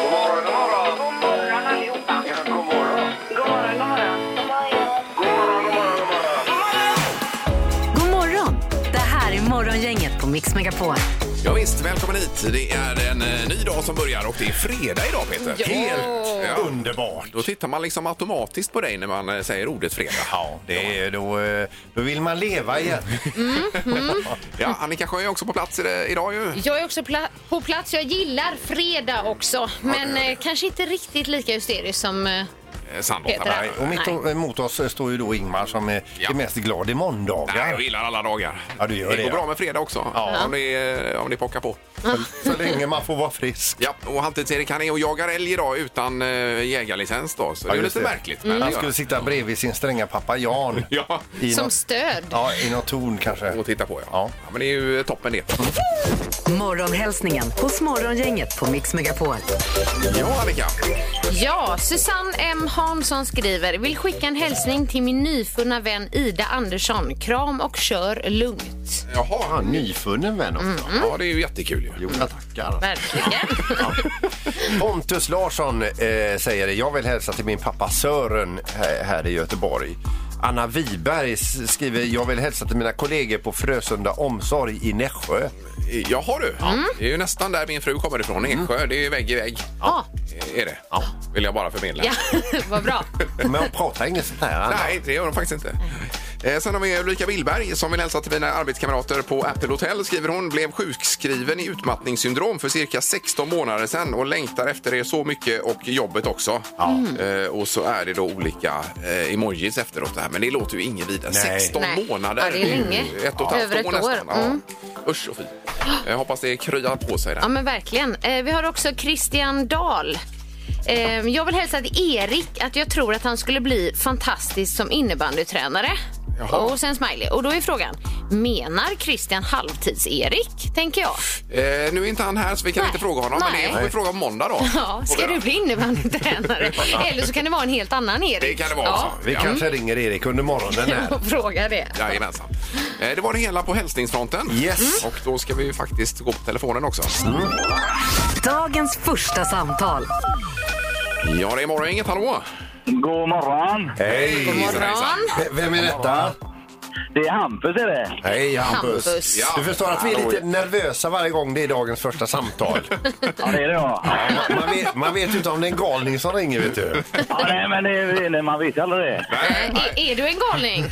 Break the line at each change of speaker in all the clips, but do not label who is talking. God morgon, god morgon. God morgon allihopa. Ja, god morgon. God morgon, god morgon. God morgon, god morgon, god morgon.
God morgon! Det här är Morgongänget på Mix Megapol.
Ja, visst, välkommen hit. Det är en eh, ny dag som börjar och det är fredag idag Peter. Helt underbart. Då tittar man liksom automatiskt på dig när man eh, säger ordet fredag.
Ja, det är då, eh, då vill man leva igen.
Ja, Annika Sjö är också på plats i- idag ju.
Jag är också pla- på plats. Jag gillar fredag också. Men eh, kanske inte riktigt lika hysterisk som... Eh,
Eh, Sandholt.
Peter.
Nej,
Och mitt
Nej.
emot oss står ju då Ingmar som är,
Ja.
är mest glad
nej,
i
jag
måndagar.
gillar alla dagar.
Ja, du gör
det
det,
går
ja.
bra med fredag också, om, det, är- om det pockar på.
Så länge man får vara frisk.
Ja, och Halvtids-Erik han är och jagar älg idag utan eh, jägarlicens då, så det är ju
just
lite
det.
märkligt.
Mm.
Men
Han
det gör
skulle sitta bredvid sin stränga pappa Jan.
Ja.
I
som
något-
stöd.
Ja, i något torn
han.
kanske.
Och titta på ja. ja.
Ja.
men det är ju toppen det.
Morgonhälsningen hos Morgongänget på Mix Megapol.
Ja, Annika.
Ja, Susanne M Hansson skriver. Vill skicka en hälsning till min nyfunna vän Ida Andersson. Kram och kör lugnt.
Jaha.
nyfunnen vän
Mm.
också.
Ja, det är ju jättekul ju.
Jo, tackar.
Verkligen.
Pontus Larsson eh, säger det. Jag vill hälsa till min pappa Sören här, här i Göteborg. Anna Wiberg s- skriver jag vill hälsa till mina kollegor på Frösunda omsorg i Nässjö.
Jaha du,
Mm.
det är ju nästan där min fru kommer ifrån, Eksjö. Det är ju vägg i vägg.
Ja,
Är det? Ja. Vill jag bara förmedla.
ja vad bra.
Men hon pratar inget sånt här. Anna.
Nej, det gör de faktiskt inte. Eh, Sen har vi Ulrika Willberg som vill hälsa till mina arbetskamrater på Apple Hotel. Skriver hon blev sjukskriven i utmattningssyndrom för cirka 16 månader sedan och längtar efter er så mycket och jobbet också. Eh, Och så är det då olika eh, emojis efteråt. Det här. Men det låter ju ingen vidare.
Nej.
16
Nej.
månader.
Ja, det är länge.
Ett och ett halvt
Över ett
år
år.
nästan. Ja.
Mm.
Usch och fy. Jag hoppas det kryar på sig där.
Ja, men verkligen. Eh, vi har också Christian Dahl. Eh, jag vill hälsa till Erik att jag tror att han skulle bli fantastisk som innebandytränare.
Jaha.
Och sen smiley. Och då är frågan, menar Christian halvtids-Erik? Tänker jag.
Eh, nu är inte han här så vi kan
Nej.
inte fråga honom. Men
Nej.
det får vi fråga om måndag då.
Ja, ska du bli innebandytränare? Eller så kan det vara en helt annan Erik.
Det kan det vara
Ja,
också.
Vi kanske ringer Erik under morgonen här.
och fråga det.
Jajamensan. Eh, Det var det hela på hälsningsfronten. Mm.
Yes.
Och då ska vi ju faktiskt gå på telefonen också.
Dagens första samtal.
Ja, det är morgon, inget hallå?
God morgon!
Hej!
God morgon.
V- Vem är detta?
Det är Hampus är det.
Hej Hampus.
Hampus.
Ja.
Du förstår att vi är lite nervösa varje gång det är dagens första samtal.
Ja, det är det ja.
Man, man, vet, man vet ju inte om det är en galning som ringer vet du.
ja nej, men det är, nej, man vet ju aldrig det.
Eh, Är, är du en galning?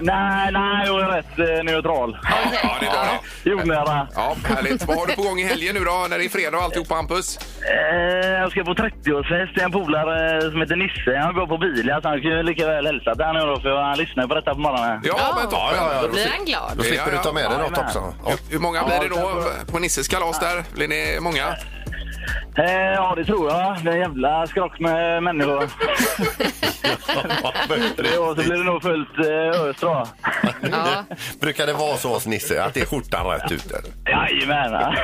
Nej, nej, jag är rätt eh, neutral.
Ja, det är bra.
Jordnära.
Ja, härligt. Vad har du på gång i helgen nu då, när det är fredag och alltihopa, Hampus?
Eh, jag ska på 30-årsfest till en polare eh, som heter Nisse. Han går på bil, alltså, han kan ju lika väl hälsa till honom då, för han lyssnar ju på detta på morgonen.
Ja, men
Ja,
toppen.
ja, ja.
Då blir han glad.
Då slipper du ta med dig något också.
Hur- Hur många blir det då på Nisses kalas där? Blir ni många?
Eh, ja, det tror jag. Det är en jävla skrock med människor. Ja, så blir det nog fullt eh, ös då.
Ja.
Brukar det vara så hos Nisse att det är skjortan rätt ut? eller?
Jajamän! ja.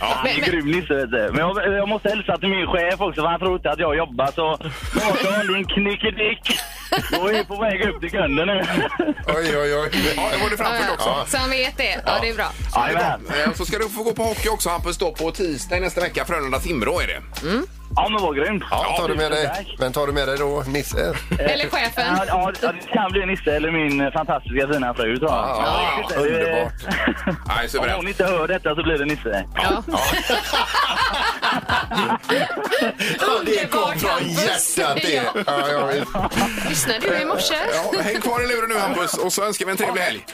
Han är
Men- men-
grym Nisse vet du. Men jag, jag måste hälsa till min chef också för han tror inte att jag jobbar så... Morgon din knickedick! Jag är på väg upp till kunden nu.
Oj, oj, oj.
Ja, det var du framfört också.
Så han vet det. Ja, det är bra.
Jajamän!
Eh, Så ska du få gå på hockey också, Hampus, då på tisdag nästa vecka. Frölunda-Timrå är det.
Ja men vad grymt!
Ja, tar du med dig,
Tack.
vem tar du med dig då? Nisse?
Eller chefen.
Ja, ja, ja, det kan bli Nisse eller min fantastiska fina fru tror jag.
Ja,
Det-
underbart.
Nej,
Om hon
suveränt.
inte hör detta så blir det Nisse.
Ja.
Det kom
Underbart,
från
Hampus.
hjärtat det. Ja, ja, visst.
Lyssnade du i morse?
Ja, häng kvar i luren nu, Hampus, och så önskar vi en trevlig helg.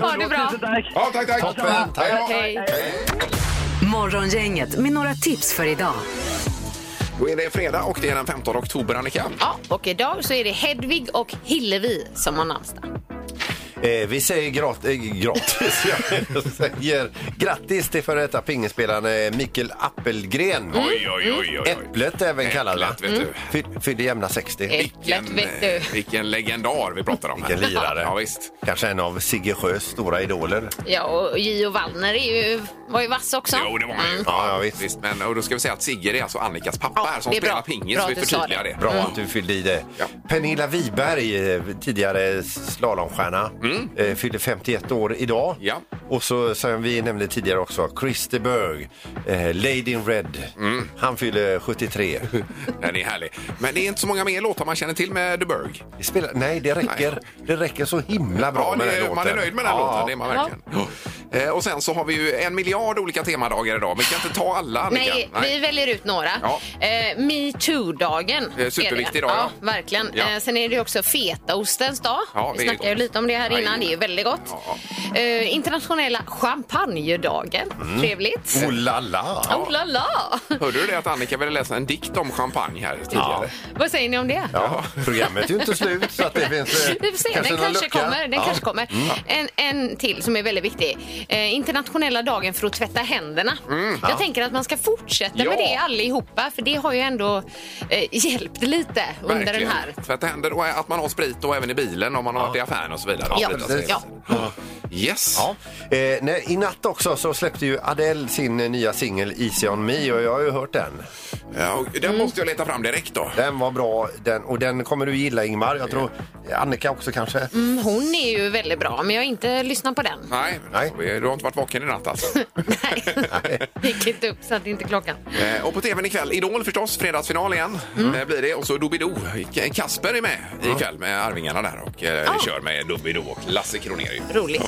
Ha det bra.
Tusen tack!
Ja, tack, tack.
Toppen, tack.
Hej då.
Hej.
Morgongänget med några tips för idag.
Då är det fredag och det är den 15 oktober, Annika.
Ja, och idag så är det Hedvig och Hillevi som har namnsdag.
Eh, vi säger grat- eh, gratis. Jag säger grattis till före detta pingisspelaren eh, Mikael Appelgren.
Oj, oj, oj, oj. oj.
Äpplet även kallad. va?
Mm. Äpplet, vet du.
Fy- Fyllde jämna 60.
Äpplet, vet du.
vilken legendar vi pratar om. här.
Vilken lirare.
Ja, visst.
Kanske en av Sigge Sjös stora idoler.
Ja, och Gio Wallner är ju, var ju vass också. Mm.
Jo, det var han ju.
Ja, ja, visst.
Men, och då ska vi säga att Sigge det är alltså Annikas pappa
Ja,
här som
det är bra.
spelar pingis.
Bra
så vi
att du sa
förtydligar det.
det.
Bra att du fyllde i det.
Mm. Ja.
Pernilla Wiberg, eh, tidigare slalomstjärna, mm. fyllde 51 år idag.
Ja.
Och så som vi nämnde tidigare också, Christer Berg, eh, Lady in Red.
Mm.
Han fyller 73.
Den är härlig. Men det är inte så många mer låtar man känner till med The Berg.
Det spelar, nej, det räcker. Det räcker så himla bra
Ja,
med den
det,
låten.
man är nöjd med den
Ja.
låten, det är man verkligen. Eh, Och sen så har vi ju en miljard olika temadagar idag. Vi kan inte ta alla, Annika.
Nej, vi väljer ut några.
Ja.
Eh, Metoo-dagen.
Eh, superviktig
är det.
dag, ja.
Ja, verkligen.
Ja.
Eh, sen är det ju också fetaostens dag.
Ja, det
vi
är
snackade ju
gott.
lite om det här
Ja,
innan. Det är ju väldigt gott.
Ja, Mm.
Eh, internationella champagnedagen. Trevligt.
Oh la la!
Oh la la!
Hörde du det att Annika ville läsa en dikt om champagne här tidigare?
Vad säger ni om det?
Ja, programmet är ju inte slut så att det finns eh,
Vi får se, den
någon
kanske
lucka.
kommer. Den
Ja.
kanske kommer. En, en till som är väldigt viktig. Eh, internationella dagen för att tvätta händerna. Jag tänker att man ska fortsätta
Ja.
med det allihopa för det har ju ändå eh, hjälpt lite under den här.
Tvätta händer och att man har sprit och även i bilen om man har varit i affären och så vidare.
Ja,
Sprita
precis.
sig. Yes.
Ja. Eh, nej, I natt också så släppte ju Adele sin eh, nya singel Easy on me och jag har ju hört den.
Ja, och den
Mm.
måste jag leta fram direkt då.
Den var bra den, och den kommer du gilla Ingmar. Jag tror Annika också kanske.
Mm, Hon är ju väldigt bra men jag har inte lyssnat på den.
Nej,
Nej.
vi- du har inte varit vaken i natt alltså.
Nej, gick inte upp så att det inte klockan.
Eh, och på tvn ikväll, Idol förstås, fredagsfinal igen
Mm.
eh, blir det. Och så Doobidoo. K- Kasper är med ikväll med Arvingarna där och eh, kör med Doobidoo och Lasse Kronér.
Roligt.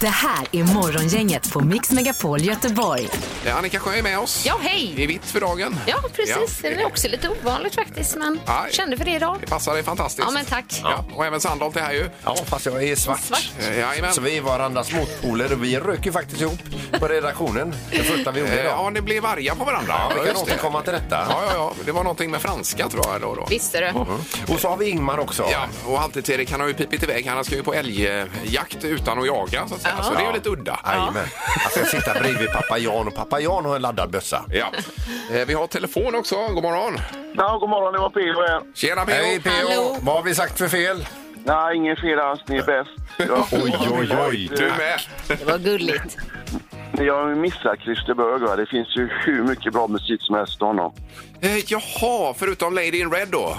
Det här är Morgongänget på Mix Megapol Göteborg.
Eh, Annika Sjö är med oss.
Ja,
Det är
hej!
vitt för dagen.
Ja, precis.
Ja.
Det är också lite ovanligt faktiskt men
Aj.
kände för det idag.
Det passar dig fantastiskt.
Ja, men tack.
Ja, och även Sandholt är här ju.
Ja, fast jag är svart.
Svart.
Eh, Jajamän.
Så vi är varandras motpoler och vi rök ju faktiskt ihop på redaktionen. Det första vi gjorde
Eh, Ja,
idag.
ni blev arga på varandra.
Ja, vi kan
just det.
återkomma till detta.
Ja, ja, ja. Det var någonting med franska tror jag. Då, då.
Visste du?
Och så har vi Ingmar också.
Ja, och Halvtids-Erik han har ju pipit iväg. Han ska ju på älgjakt utan att jaga så att säga.
Ja.
Så det är ju lite udda.
Jajamän. Alltså jag sitter bredvid pappa Jan och pappa Jan har en laddad bössa.
Ja. Eh, Vi har telefon också. God morgon!
Ja, god morgon, det var P.O. här.
Tjena P.O.
Hej P.O.
Hallå.
Vad har vi sagt för fel?
Nej, ingen fel alls, ni är bäst. Jag,
Oj, oj, oj.
Du med!
Det var gulligt.
jag missar Christer Berg, va? det finns ju hur mycket bra musik som helst av honom.
Eh, Jaha, förutom Lady in Red då.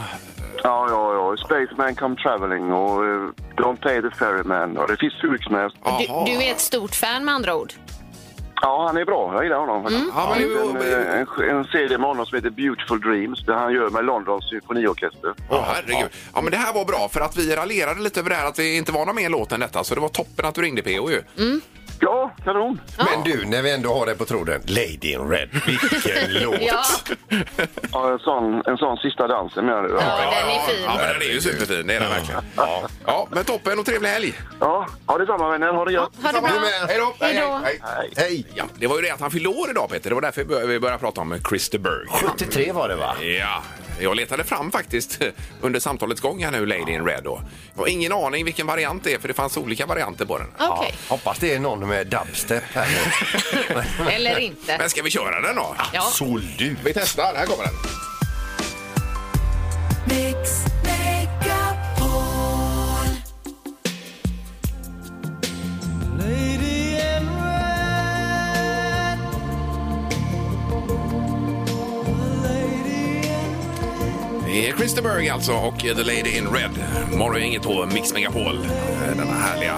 Ja, ja, ja, Spaceman come traveling och eh, Don't pay the ferryman. Och det finns hur mycket som helst.
Du,
Jaha.
du är ett stort fan med andra ord.
Ja, han är bra, jag gillar honom faktiskt.
Mm. Ja, men,
En, eh, en, en CD med honom som heter Beautiful Dreams, det han gör med Londons symfoniorkester.
Åh, herregud. Ja, men det här var bra för att vi raljerade lite över det här att det inte var någon mer låt än detta så det var toppen att du ringde P.O.
Mm,
ju.
Ja, kanon!
Men du, när vi ändå har det på tråden. Lady in Red, vilken låt!
Ja,
Ja, en, sån, en sån sista dansen menar du?
ja, den är fin.
Ja, men den är ju superfin. Det är den verkligen. Ja. ja, men toppen och trevlig helg!
Ja, ha detsamma vänner, ha det gött!
Ha det
Du
bra.
med!
Hej då!
Hej då.
Hej!
Ja, det var ju det att han fyllde år idag Peter. Det var därför vi bör- vi började prata om Christer Berg.
73 var det va?
Ja, jag letade fram faktiskt under samtalets gång här nu, Lady in Red då. Jag har ingen aning vilken variant det är för det fanns olika varianter på den.
Okej.
Hoppas det är någon med dubstep här nu.
Eller inte.
Men ska vi köra den då?
Ja.
Absolut!
Vi testar, här kommer den. Det är Christer Berg alltså och The Lady in Red. Morgongänget på Mix Megapol. Denna härliga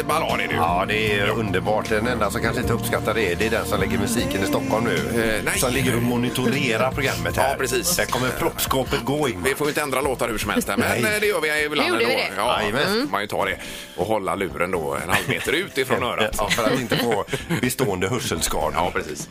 eh, ballad är det ju.
Ja, det är underbart. Den enda som kanske inte uppskattar det, det är den som lägger musiken i Stockholm nu.
Eh, nej.
Som ligger och monitorerar programmet här.
Ja, precis.
Där kommer proppskåpet gå in.
Vi får ju inte ändra låtar hur som helst här, men
Nej.
eh, det gör vi ibland
Nu gjorde
ändå.
vi det.
Ja,
Jajamän.
mm. man ju tar det och hålla luren då en halv meter ut ifrån örat.
Ja, för att inte få bestående hörselskador.
Ja, precis.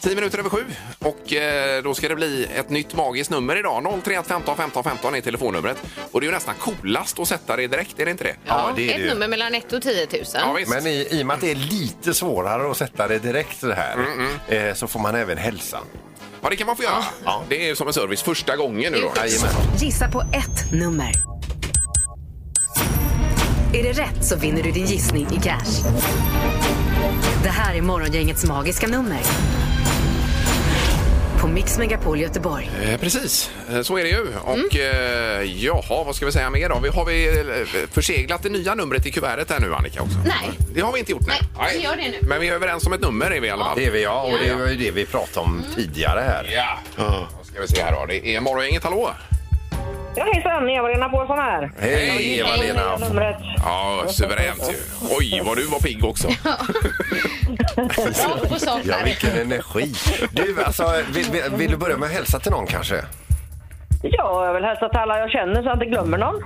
10 minuter över sju och eh, då ska det bli ett nytt magiskt nummer idag. 031 15 15 15 är telefonnumret. Och det är ju nästan coolast att sätta det direkt, är det inte det?
Ja, det är det ju.
Ett nummer mellan 1 och 10
Ja,
000.
visst.
Men i, i och med att det är lite svårare att sätta det direkt så här Eh, så får man även hälsan.
Ja, det kan man få göra.
Ah.
Ja.
Det är ju som en service första gången nu då.
Jajamän.
Gissa på ett nummer. Är det rätt så vinner du din gissning i cash. Det här är Morgongängets magiska nummer. På Mix Megapol Göteborg.
Eh, Precis, Eh, så är det ju.
Mm.
Och eh, jaha, vad ska vi säga mer då? Vi- Har vi eh, förseglat det nya numret i kuvertet här nu Annika också?
Nej.
Det har vi inte gjort nej.
Nej, vi gör det nu.
Men vi är överens om ett nummer är vi i alla fall.
Det är vi, ja. Och det var ju det vi pratade om tidigare här.
Ja, då ska vi se här då. Det är morgongänget, hallå?
Ja, hejsan, Eva-Lena Pålsson här.
Hej, Eva-Lena.
Numret.
Ja, suveränt ju. Oj, vad du var pigg också.
Bra på sak
Ja,
där.
vilken energi. Du, alltså, vill, vill, vill du börja med att hälsa till någon kanske?
Ja, jag vill hälsa till alla jag känner så jag inte glömmer någon.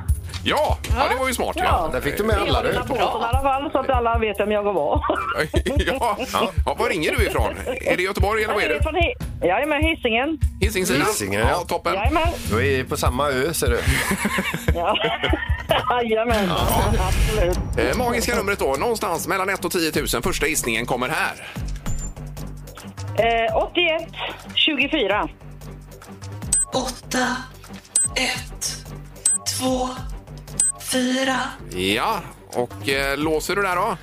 Ja, ja det var ju smart.
Ja.
Där fick du med alla du.
Eva-Lena Pålsson i alla fall, så att alla vet vem jag var.
Ja. ja, var ringer du ifrån? Är det Göteborg eller vad är det?
Jag är med Hisingen.
Hisingssidan?
Mm. Hisingen, ja.
ja. Toppen.
Jajamän.
Du är på samma ö, ser du.
Ja. Jajamän, absolut.
Eh, magiska numret då, någonstans mellan 1 och 10 000. Första gissningen kommer här.
Eh, 81 24.
8, 1, 2, 4.
Ja, och eh, låser du där då?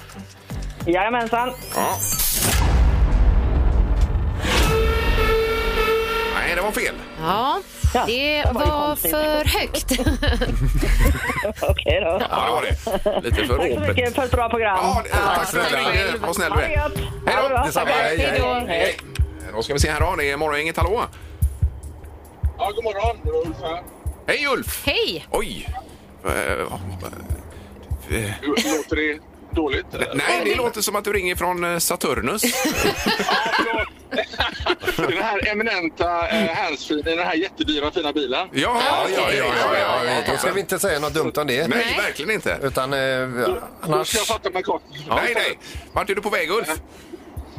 Jajamensan.
Ja. Nej, det var fel.
Ja,
Ja,
det
det var ju
var
konstigt.
för högt.
Okej då.
Ja, det var det. Lite för
Tack så mycket
åpet.
för ett bra program.
Ja, det- tack för att du
snäll
ringde.
själv.
Var snäll
Ha
du
det
är.
gött.
Hej då.
Ha det bra.
Detsamma.
Tack.
Hej, hej, hej.
Hej. Då ska vi se här då. Det är morgongänget. Hallå!
Ja, god morgon. Det var Ulf här.
Hej Ulf!
Hej!
Oj! Eh, eh,
Låter det dåligt? eller?
Nej, det låter som att du ringer från eh, Saturnus.
Ja, förlåt. den här eminenta eh, handsfree i den här jättedyra fina bilen.
Ja, ja, ja, ja, ja, ja, ja.
Då ska vi inte säga något dumt om det.
Nej, verkligen inte.
Utan eh,
Då
annars...
ska jag fatta mig kort.
Nej, nej. Vart är du på väg Ulf?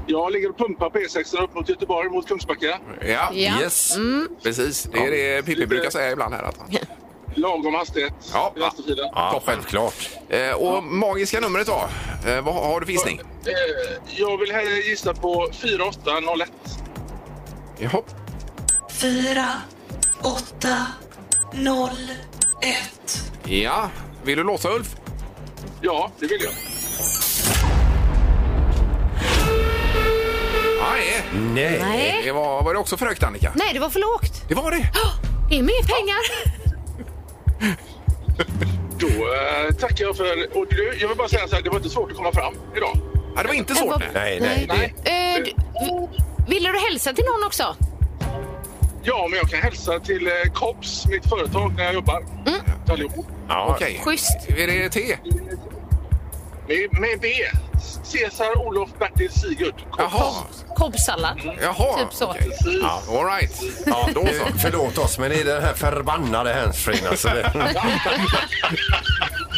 Jag ligger och pumpar på E6 upp mot Göteborg mot Kungsbacka.
Ja,
Ja.
Yes.
precis. Det är det Pippi brukar säga ibland här. Att han...
Lagom hastighet
Ja.
i vänsterfilen.
Ja, självklart.
Eh, och magiska numret då? Eh, vad har du för gissning?
Eh, Jag vill hellre gissa på 4801.
Jaha.
4, 8, 0, 1.
Ja. Vill du låsa Ulf?
Ja, det vill jag.
Nej.
Nej.
Nej.
Det var, var det också för högt Annika?
Nej, det var för lågt.
Det var det.
Det är mer pengar.
Då eh, tackar jag för... Och du, jag vill bara säga så här, det var inte svårt att komma fram idag.
Ja, det var inte svårt.
var-
nej.
Nej, nej.
Nej.
Eh, d- v- Ville du hälsa till någon också?
Ja, men jag kan hälsa till eh, Kops, mitt företag, när jag jobbar. Allihop.
Ja.
Okej.
Schysst.
Är det T?
Med, med B. Cesar Olof Bertil Sigurd. Kops.
Jaha.
Kobbsallad.
Jaha.
Typ så.
okej.
Precis.
All right.
Ja,
Då så.
Förlåt oss, men det är den här förbannade handsfreen. Alltså. Det-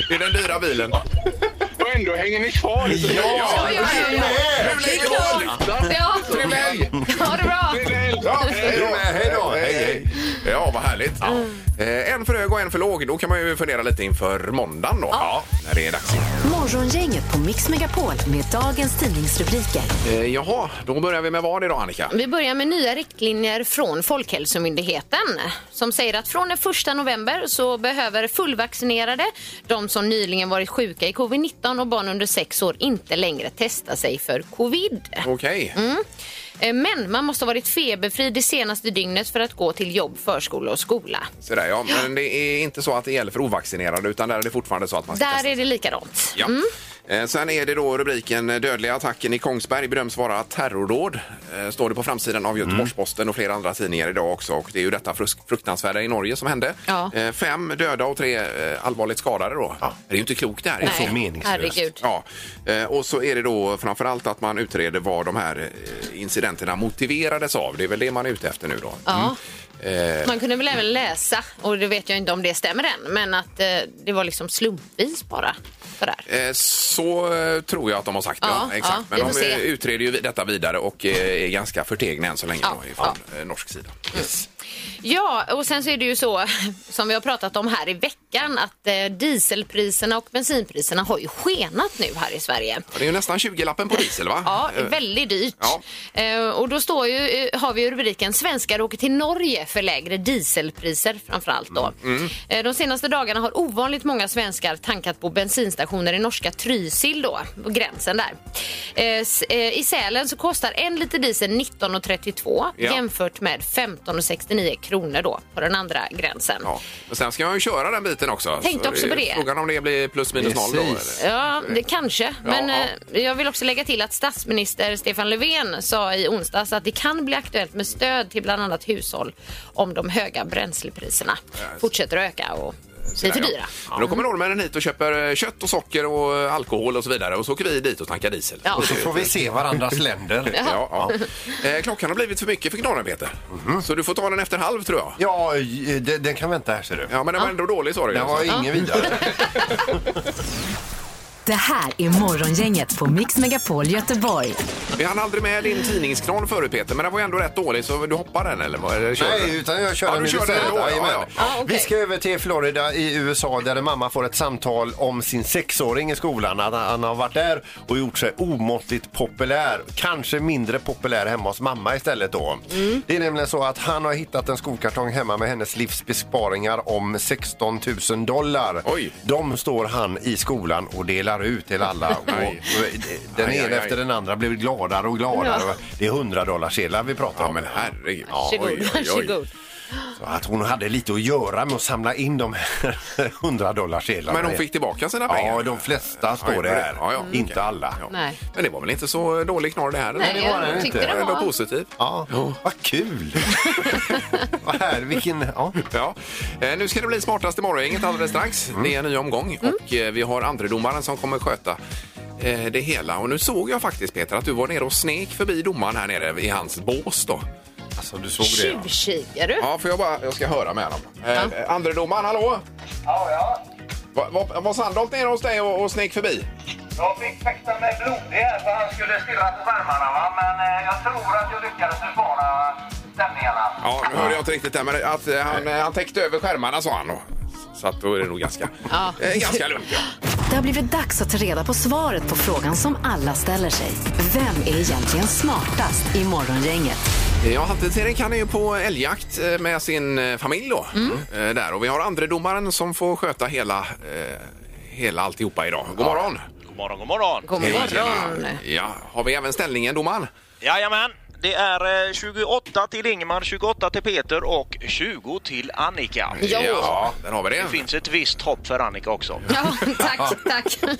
Det är den dyra bilen.
Och ändå hänger ni kvar. lite.
Ja, ja, ja, ja.
Nu blir det hål!
Ja,
Trevlig helg!
ha det bra.
Trevlig helg.
Ja,
Hej då, hej då. Hej, hej.
Ja, vad härligt. Eh, En för hög och en för låg. Då kan man ju fundera lite inför måndagen då. Ja. När det är dags.
Morgongänget på Mix Megapol med dagens tidningsrubriker.
Eh, Jaha, då börjar vi med vad idag Annika?
Vi börjar med nya riktlinjer från Folkhälsomyndigheten som säger att från den 1 november så behöver fullvaccinerade, de som nyligen varit sjuka i covid-19 och barn under 6 år inte längre testa sig för covid.
Okej.
Eh, Men man måste ha varit feberfri det senaste dygnet för att gå till jobb, förskola och skola.
Sådär ja, men det är inte så att det gäller för ovaccinerade utan där är det fortfarande så att man ska
Där
testa.
är det likadant.
Ja. Eh, Sen är det då rubriken eh, Dödliga attacken i Kongsberg bedöms vara terrordåd. Eh, Står det på framsidan av Göteborgs-Posten och flera andra tidningar idag också. Och det är ju detta frus- fruktansvärda i Norge som hände.
Ja.
Eh, Fem döda och tre eh, allvarligt skadade då. Det är ju inte klokt det här.
så
Nej,
meningslöst.
Herregud.
Ja, eh, och så är det då framförallt att man utreder vad de här eh, incidenterna motiverades av. Det är väl det man är ute efter nu då. Mm. Eh,
Ja. Man kunde väl även läsa, och det vet jag inte om det stämmer än, men att eh, det var liksom slumpvis bara. Sådär.
Eh, Så eh, tror jag att de har sagt. Ja,
Ja,
exakt.
ja,
Men
vi
de
får se.
eh, utreder ju detta vidare och eh, är ganska förtegna än så länge
Ja, Mm.
då, från eh, norsk sida.
Ja, och sen så är det ju så som vi har pratat om här i veckan att eh, dieselpriserna och bensinpriserna har ju skenat nu här i Sverige.
Ja, Det är ju nästan 20-lappen på diesel, va?
Ja, det är
Eh,
väldigt dyrt.
Ja.
Eh, och då står ju, eh, har vi ju rubriken Svenskar åker till Norge för lägre dieselpriser framförallt då.
Mm,
Eh, de senaste dagarna har ovanligt många svenskar tankat på bensinstationer i norska Trysil då, på gränsen där. Eh, s- eh, I Sälen så kostar en liter diesel 19,32
Ja.
jämfört med 15,69 kronor då på den andra gränsen.
Ja. Men sen ska man ju köra den biten också.
Tänkte
Så
också på det.
Frågan om det blir plus minus noll då.
Precis.
eller?
Ja, det, kanske. Men
Ja,
eh, jag vill också lägga till att statsminister Stefan Löfven sa i onsdags att det kan bli aktuellt med stöd till bland annat hushåll om de höga bränslepriserna fortsätter att öka och blir för
Sådär, ja.
dyra.
Men då kommer norrmännen hit och köper eh, kött och socker och eh, alkohol och så vidare och så åker vi dit och tankar diesel.
Ja.
Så får vi se varandras länder.
Ja, ja. Eh, klockan har blivit för mycket för knorren, Peter.
Mhm.
Så du får ta den efter halv, tror jag.
Ja, eh, den, den kan vänta här ser du.
Ja, men den var ändå dålig, sa du. alltså. ju.
Den var
Så-
ingen vidare.
Det här är Morgongänget på Mix Megapol Göteborg.
Vi hann aldrig med din tidningsknorr förut, Peter, men den var ju ändå rätt dålig, så du hoppar den, eller? vad- eller kör du
Nej,
den?
utan jag kör
Ja,
den
du
nu
kör den
istället.
ändå, ja,
Jajamän.
ja.
Ah, okej.
Vi ska över till Florida i USA där en mamma får ett samtal om sin sexåring i skolan. Att han har varit där och gjort sig omåttligt populär. Kanske mindre populär hemma hos mamma istället då.
Mm.
Det är nämligen så att han har hittat en skokartong hemma med hennes livs besparingar om 16 000 dollar.
Oj.
De står han i skolan och delar ut till alla. Och
Aj.
den
Aj, aj,
ena
aj.
efter den andra blir gladare och gladare.
Ja.
Det är 100 dollar sedlar vi pratar
Ja,
om.
men herregud. Ja,
Varsågod,
oj, oj, oj.
varsågod.
Så att hon hade lite att göra med att samla in de här 100 dollarsedlarna.
Men hon fick tillbaka sina pengar?
Ja, de flesta står det här.
Ja, ja,
Inte
okej.
alla. Ja.
Nej.
Men det var väl inte så dålig knorr det här? eller?
Nej,
det var den
jag tyckte
inte.
det
Ändå
var...
positivt.
Vad kul! Vad här, vilken... Ja.
Ja. Eh, Nu ska det bli smartast i morgongänget alldeles strax.
Mm.
Det är en ny omgång och eh, vi har andredomaren som kommer sköta eh, det hela. Och nu såg jag faktiskt Peter att du var nere och snek förbi domaren här nere i hans bås då.
Alltså, du såg det.
Tjuvkikar du?
Ja, för jag, bara, jag ska höra med honom. Eh, eh, Andredomaren, hallå?
Ja, ja.
Var, var, var Sandholt nere hos dig och, och snek förbi?
Jag fick fäkta mig blodig här för han skulle stirra på skärmarna va. Men eh, jag tror att jag lyckades försvara stämningarna.
Ja, nu hörde jag inte riktigt det, men att eh, han, eh, han täckte över skärmarna sa han. då. Så att då är det nog ganska,
Ja.
eh, ganska lugnt. Ja.
Det har blivit dags att ta reda på svaret på frågan som alla ställer sig. Vem är egentligen smartast i Morgongänget?
Ja, Halvtids-Erik han är ju på älgjakt eh, med sin eh, familj då. Eh, Där. Och vi har andre domaren som får sköta hela, eh, hela alltihopa idag. God morgon!
God morgon, god morgon.
God morgon.
Ja, har vi även ställningen domaren?
Jajamän. Det är eh, 28 till Ingmar, 28 till Peter och 20 till Annika.
Ja.
där har vi det.
Det finns ett visst hopp för Annika också.
Ja, tack, tack.
Ja, men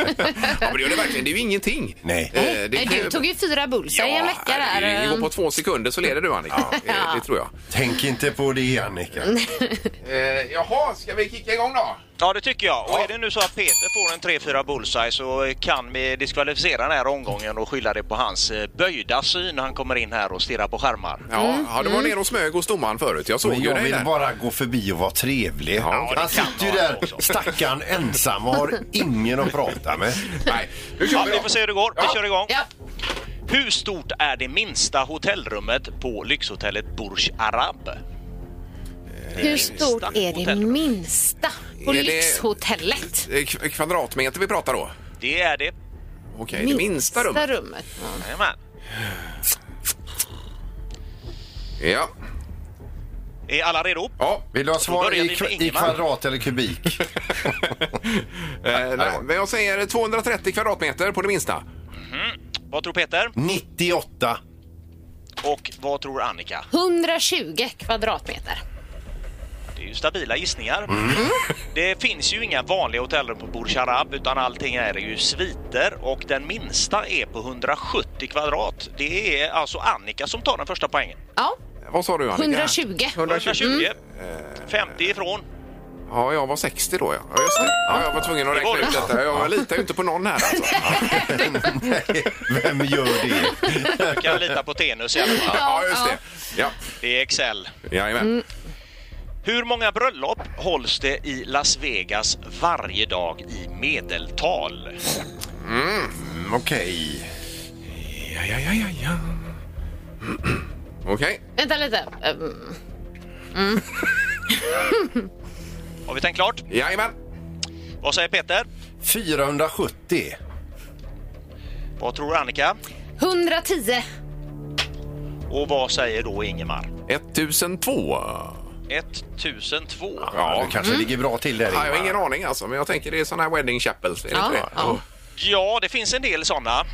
det gör det verkligen. Det är ju ingenting.
Nej.
Eh,
Nej,
kan ju-
Du tog ju fyra bullseye en vecka där.
det- Det går på två sekunder så leder du Annika. Eh, Det, tror jag.
Tänk inte på det, Annika.
Eh, jaha, ska vi kicka igång då?
Ja, det tycker jag. Och är det nu så att Peter får en 3-4 bullseye så kan vi diskvalificera den här omgången och skylla det på hans eh, böjda syn när han kommer in här och stirrar på skärmar.
Ja,
Mm.
ja du var nere och smög hos domaren förut. Jag såg
Men
ju
jag
dig
vill
där.
bara gå förbi och vara trevlig.
Ja, det
Han
kan
sitter ju
vara
där,
också.
stackaren, ensam och har ingen att prata med.
Nej, nu kör
Ja,
vi
vi
då.
får se hur det går. Vi
Ja.
kör igång.
Ja.
Hur stort är det minsta hotellrummet på lyxhotellet Burj Arab?
Hur stort är det
Hotell.
minsta på
Är det-
lyxhotellet?
Eh, k- Kvadratmeter vi pratar då?
Det är det.
Okej, det minsta rummet.
rummet. Ja.
Jajamän.
Ja.
Är alla redo?
ja.
Vill du ha
Då
svar
börjar
i,
vi med
kva- i
Ingemar.
kvadrat eller kubik?
Eh, nej, men jag säger 230 kvadratmeter på det minsta.
Vad tror Peter?
98.
Och vad tror Annika?
120 kvadratmeter.
Det är ju stabila gissningar. Det finns ju inga vanliga hotellrum på Burj Arab utan allting är ju sviter och den minsta är på 170 kvadrat. Det är alltså Annika som tar den första poängen.
Ja,
Vad sa du Annika?
120.
120.
120. 50 ifrån.
Ja, jag var 60 då ja. Ja, just det. ja jag var tvungen att
Det var
räkna ut
det.
detta. Jag litar ju inte på någon här alltså.
Vem gör det?
Du kan lita på Tenus i alla fall.
Ja, just det. Ja, Mm.
Det är Excel.
jajamän.
Hur många bröllop hålls det i Las Vegas varje dag i medeltal?
Mm, Okej.
Ja, ja, ja, ja, ja. Okej.
Vänta lite. Ehm,
Har vi tänkt klart?
Jajamän!
Vad säger Peter?
470.
Vad tror Annika?
110.
Och vad säger då Ingemar?
1002.
1002.
Ja, du kanske ligger bra till där
Mm. Ja, jag har
Ingmar.
ingen aning alltså, men jag tänker det är sån här wedding chapels. Är det
Ja,
inte det? Oh.
ja.
Ja, det finns en del sådana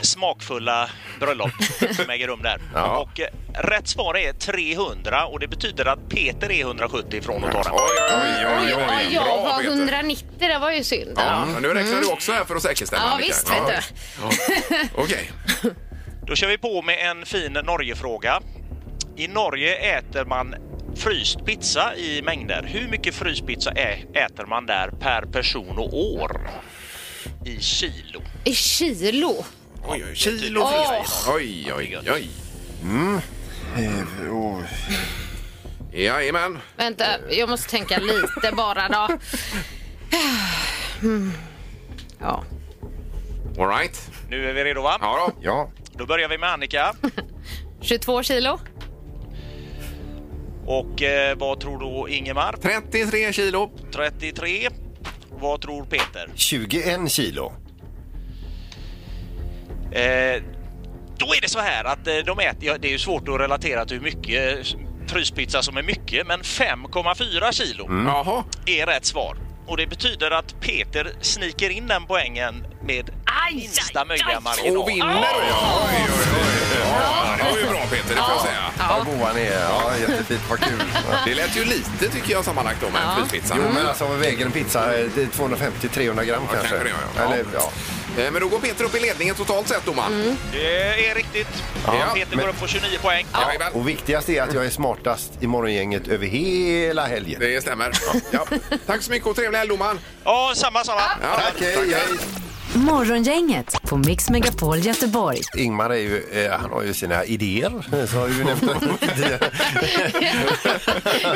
smakfulla bröllop som äger rum där.
Ja.
Och eh, rätt svar är 300 och det betyder att Peter är 170 från att ta den.
Oj, oj, oj,
Oj,
oj,
oj, jag
Bra,
var
Peter.
190, det var ju synd.
Ja, men nu räknar du också här för att säkerställa.
Ja,
Annika.
visst,
Ja.
vet
Ja. Okej.
Då kör vi på med en fin Norgefråga. I Norge äter man fryst pizza i mängder. Hur mycket fryst pizza ä- äter man där per person och år? I kilo.
I kilo.
Oj, oj, kilo fryst. Oj, oj, oj. Mm. Jajamän.
Vänta, jag måste tänka lite bara då. Mm. Ja.
All right.
Nu är vi redo va?
Ja då.
Ja,
Då börjar vi med Annika.
22 kilo.
Och eh, vad tror då Ingemar?
33 kilo.
33. Vad tror Peter?
21 kilo.
Eh, då är det så här att eh, de äter, ja, det är ju svårt att relatera till hur mycket eh, fryspizza som är mycket, men 5,4 kilo
Mm.
Mm.
Jaha.
är rätt svar. Och det betyder att Peter sniker in den poängen med minsta möjliga marginal.
Och vinner då. Oj, oj, oj. Ja, det var ju bra Peter, det får jag säga.
Ja, vad god han är. Ja, jättefint. Vad kul. Ja.
Det lät ju lite tycker jag sammanlagt då med en fryspizza. Mm.
Jo, men alltså vad väger en pizza? Eh, det är 250-300 gram
Ja,
kanske?
kanske det gör, ja.
Eller, ja.
Eh, Men då går Peter upp i ledningen totalt sett domaren.
Det är riktigt.
Ja,
Peter
men-
går upp på 29 poäng.
Jajamän.
Och viktigast är att jag är smartast i morgongänget över hela helgen.
Det stämmer. Ja. Tack så mycket och trevlig helg domaren.
Ja, samma, samma.
Ja,
Okej, hej.
Morgongänget på Mix Megapol Göteborg.
Ingmar är ju, eh, han har ju sina idéer. Så har ju nämnt tidigare.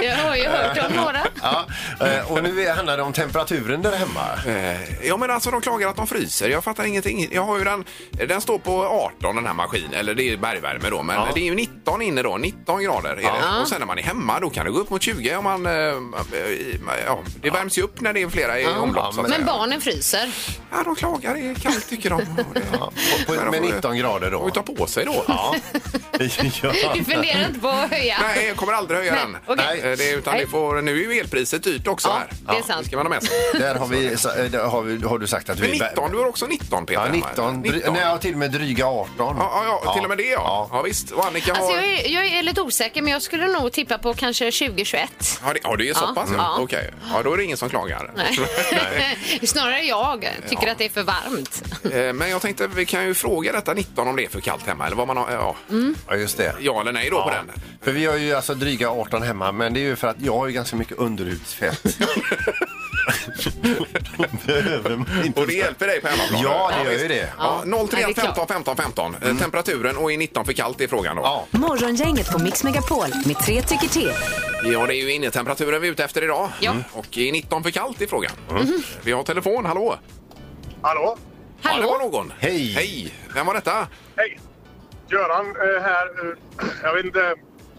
Jag har ju hört om några.
ja, eh, och nu är- handlar det om temperaturen där hemma.
Eh, Ja men alltså de klagar att de fryser. Jag fattar ingenting. Jag har ju den, den står på 18 den här maskinen, eller det är bergvärme då. Men det är ju 19 inne då, 19 grader är det. Och sen när man är hemma då kan det gå upp mot 20 om man... eh, eh, Ja, det värms ju upp när det är flera i omlopp så att
Men
säga.
barnen fryser.
Ja de klagar, det är kallt tycker de. Ja,
På,
Men de
med
får ju-
19 grader
De får
då.
ju ta på sig då.
Ja. ja.
Du funderar inte på att höja?
Nej, jag kommer aldrig höja den.
okej.
Nej, eh, det, utan det
Nej.
får, nu är ju elpriset dyrt också
Ja,
här.
det är sant.
ska man ha med sig.
Där har, vi, så, eh, där har, vi, har du sagt att
Men
vi
19, du har också 19 Peter.
Ja,
hemma, eller?
19. dry- Nej, ja, till och med dryga 18.
Ja, ja, ja, till och med det ja.
Ja.
Ja, visst. Och Annika har...
Alltså jag, är, jag är lite osäker, men jag skulle nog tippa på kanske 2021.
Ja, det, ja, det är så
Ja,
pass? Ja.
ja.
Okej. Ja, då är det ingen som klagar.
Snarare jag tycker att det är för varmt.
Eh, Men jag tänkte vi kan ju fråga detta 19 om det är för kallt hemma eller vad man har. Ja,
Mm.
Ja, just det.
ja eller nej då på den.
För vi har ju alltså dryga 18 hemma, men det är ju för att jag har ju ganska mycket underhudsfett. Då behöver man inte-
Och det hjälper dig på hemmaplan?
Ja, det gör
visst.
ju det. Mm.
Ja, 031
Nej, det är
15
klart.
15 15. Eh, Temperaturen och är 19 för kallt är frågan då.
Ja.
Morgongänget på Mix Megapol med tre tycker till.
Ja, det är ju innetemperaturen vi är ute efter idag.
Ja.
Och är 19 för kallt är frågan.
Mm.
Vi har telefon, hallå?
Hallå?
Ja, det
Hallå?
var någon.
Hej.
Hej! Vem var detta?
Hej! Göran eh, här. eh, Jag vet inte.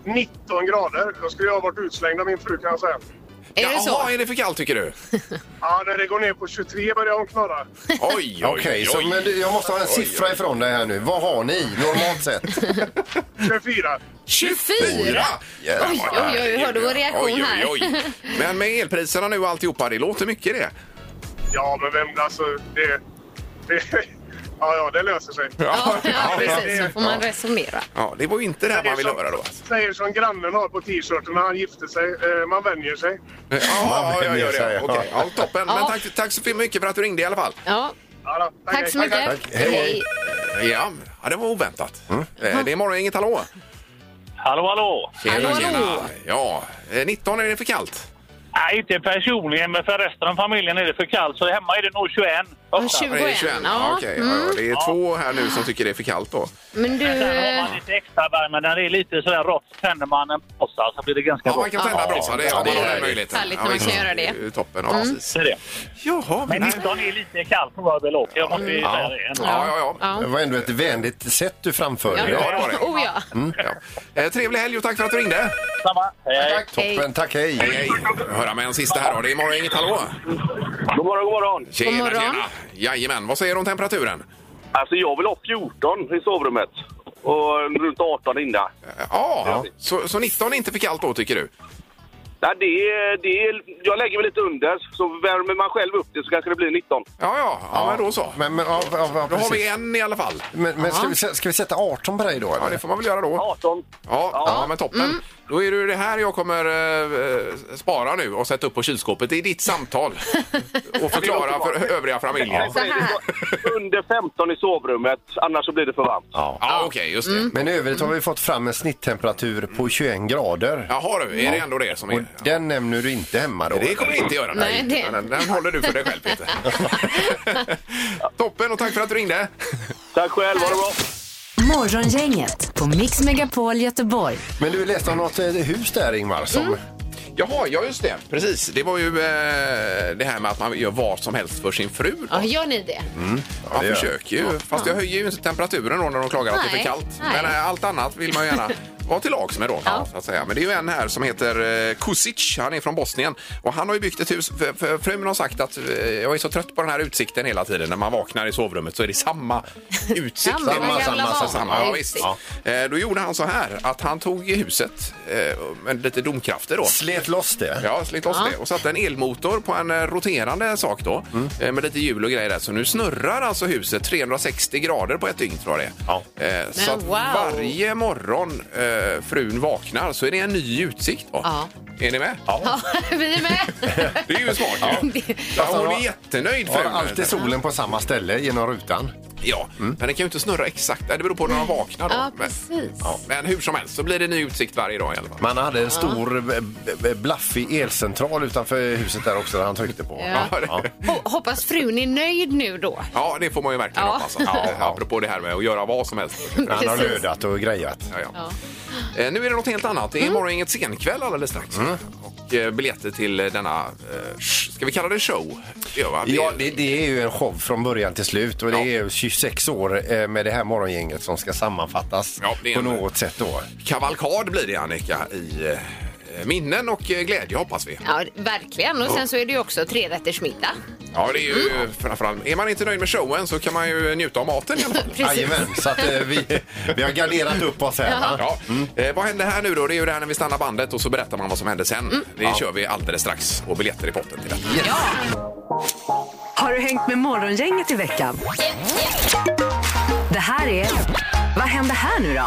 19 grader. Då skulle jag ha varit utslängd av min fru kan jag säga.
Är det så?
Jaha, är det för kallt tycker du?
Ja, när det går ner på 23 börjar hon knorra.
Oj, oj,
Okej, så
oj.
men du, jag måste ha en siffra ifrån dig här nu. Vad har ni normalt sett?
24.
24?
Jävlar.
Oj, oj, oj, hör du vår reaktion
Oj, oj,
här?
oj. Men med elpriserna nu och alltihopa, det låter mycket det.
Ja, men vem alltså. Det... det ja, ja, det löser sig.
Ja, ja, precis.
ja.
Så får man resonera.
Ja, det var ju inte det här man ville höra då. alltså.
Säger som grannen har på t-shirten när han gifte sig. Eh, man vänjer sig.
Ja, ja, ja, ja,
vill säga.
ja. Okej, ja, toppen. Men
Ja.
tack, tack så mycket för att du ringde i alla fall.
Ja,
Ja, då.
tack så mycket.
tack. Hej, hej.
Ja, ja det var oväntat.
Mm.
Eh, Det är morgon, inget hallå.
Hallå, hallå!
Hallå,
Tjena.
hallå.
Ja, eh, 19 är det för kallt.
Nej, inte personligen, men för resten av familjen är det för kallt, så hemma är det nog 21.
Ja,
Men det är
21.
21. Ja,
Ja.
okej.
Mm.
ja, ja. Det är två här nu som tycker det är för kallt då.
Men du,
Sen har
eh,
man lite extra värme. När det är lite sådär rått så tänder man en brasa så blir det ganska
Ja,
bra.
man kan tända brasan. Det, ja,
det
man har
är
den möjligheten.
härligt
ja,
när man
visst.
kan göra det. Mm.
är Toppen, ja precis.
Det är det.
Jaha,
Men
nej.
19 är lite kallt på Röbel också. Jag måste ju säga det. ändå.
Ja, ja, ja.
Det
ja.
var ändå ett vänligt sätt du framförde
Ja,
det.
det var det.
Oh ja.
Ja. Eh, trevlig helg och tack för att du ringde.
Samma. Hej, hej.
Toppen, tack hej.
Hej, höra med en sista här då. Det är morgon, inget hallå.
God morgon, god morgon.
Tjena,
God morgon.
tjena. Jajamän, vad säger du om temperaturen?
Alltså jag vill ha 14 i sovrummet och runt 18 inne.
Eh, Ja, så, så 19 är inte för kallt då tycker du?
Nej, det, är- det, är- jag lägger mig lite under, så värmer man själv upp det så kanske det blir 19.
Ja, ja, ja men då så.
Men, men, ja, ja, ja,
Då har vi
precis.
en i alla fall.
men, men ska, vi, sä- ska vi sätta 18 på dig då?
Ja, det
Eller?
får man väl göra då.
18.
Ja, ja men toppen.
Mm.
Då är det ju det här jag kommer eh, spara nu och sätta upp på kylskåpet. Det är ditt samtal. och förklara för övriga familjen.
Så här.
Under 15 i sovrummet, annars så blir det för varmt.
Ja, okej, just
Mm.
det.
Men i övrigt har vi fått fram en snitttemperatur på 21 grader.
Jaha du, är det ändå det som
Och
är...
den nämner du inte hemma då?
Det kommer jag inte göra.
Nej, det-
Den, den håller du för dig själv, Peter. Toppen, och tack för att du ringde.
Tack själv, ha det bra.
Morgongänget på Mix Megapol Göteborg.
Men du läste om något eh, hus där Ingmar som...
Mm.
Jaha, ja just det. Precis. Det var ju eh, det här med att man gör vad som helst för sin fru. då.
Ja, gör ni det?
man
det gör
försöker ju. Fast jag höjer ju inte temperaturen då när de klagar att det är för
Nej,
kallt.
nej.
Men eh, allt annat vill man ju gärna vara till lags med då. Så att säga. Men det är ju en här som heter eh, Kusic. Han är från Bosnien. Och han har ju byggt ett hus. För, för, frun har sagt att eh, jag är så trött på den här utsikten hela tiden. När man vaknar i sovrummet så är det samma utsikt.
Samma
Det är massa-
jävla
massa-
val.
samma. Ja,
Ja,
visst.
utsikt.
Eh, Då gjorde han så här att han tog i huset eh, med lite domkrafter då.
Slet loss det.
Ja, slit loss det. Och satte en elmotor på en eh, roterande sak då. eh, Med lite hjul och grejer där. Så nu snurrar alltså huset 360 grader på ett dygn tror jag det är.
Ja.
Eh, Så
Men
att
wow.
varje morgon eh, frun vaknar så är det en ny utsikt då.
Ja.
Är ni med?
Ja, vi är med.
Det är ju smart ju. Ja,
Fast
hon
han
är
har-
jättenöjd
Har
frun.
alltid solen på samma ställe genom rutan.
Ja, men den kan ju inte snurra exakt. Det beror på när de vaknar då.
Ja,
men,
precis.
ja, men hur som helst så blir det ny utsikt varje dag i alla fall.
Man hade en stor eh, b- b- blaffig elcentral utanför huset där också där han tryckte på.
Ja.
Ja.
Ho- Hoppas frun är nöjd nu då.
Ja, det får man ju verkligen
Ja.
hoppas. Ja, apropå det här med att göra vad som helst.
Han har
Precis.
lödat och grejat.
Ja, ja. Eh, Nu är det något helt annat. Det är
Mm.
imorgon inget senkväll alldeles strax.
Mm.
Och eh, biljetter till eh, denna, eh, sh- ska vi kalla det show? Det gör va? Det-
Ja, det, det är ju en show från början till slut och det
Ja.
är ju 26 år eh, med det här morgongänget som ska sammanfattas
Ja, det är
på
en-
något sätt då.
Kavalkad blir det Annika i eh, minnen och eh, glädje hoppas vi.
Ja, verkligen. Och sen så är det ju också trerättersmiddag.
Ja, det är ju eh,
Mm.
framförallt, är man inte nöjd med showen så kan man ju njuta av maten i alla fall.
Precis.
Jajamän, så att eh, vi, vi har garderat upp oss här. va?
Ja. Eh, vad händer här nu då? Det är ju det här när vi stannar bandet och så berättar man vad som hände sen.
Mm.
Det kör vi alldeles strax och biljetter i potten till detta.
Har du hängt med Morgongänget i veckan? Det här är... Vad händer här nu då?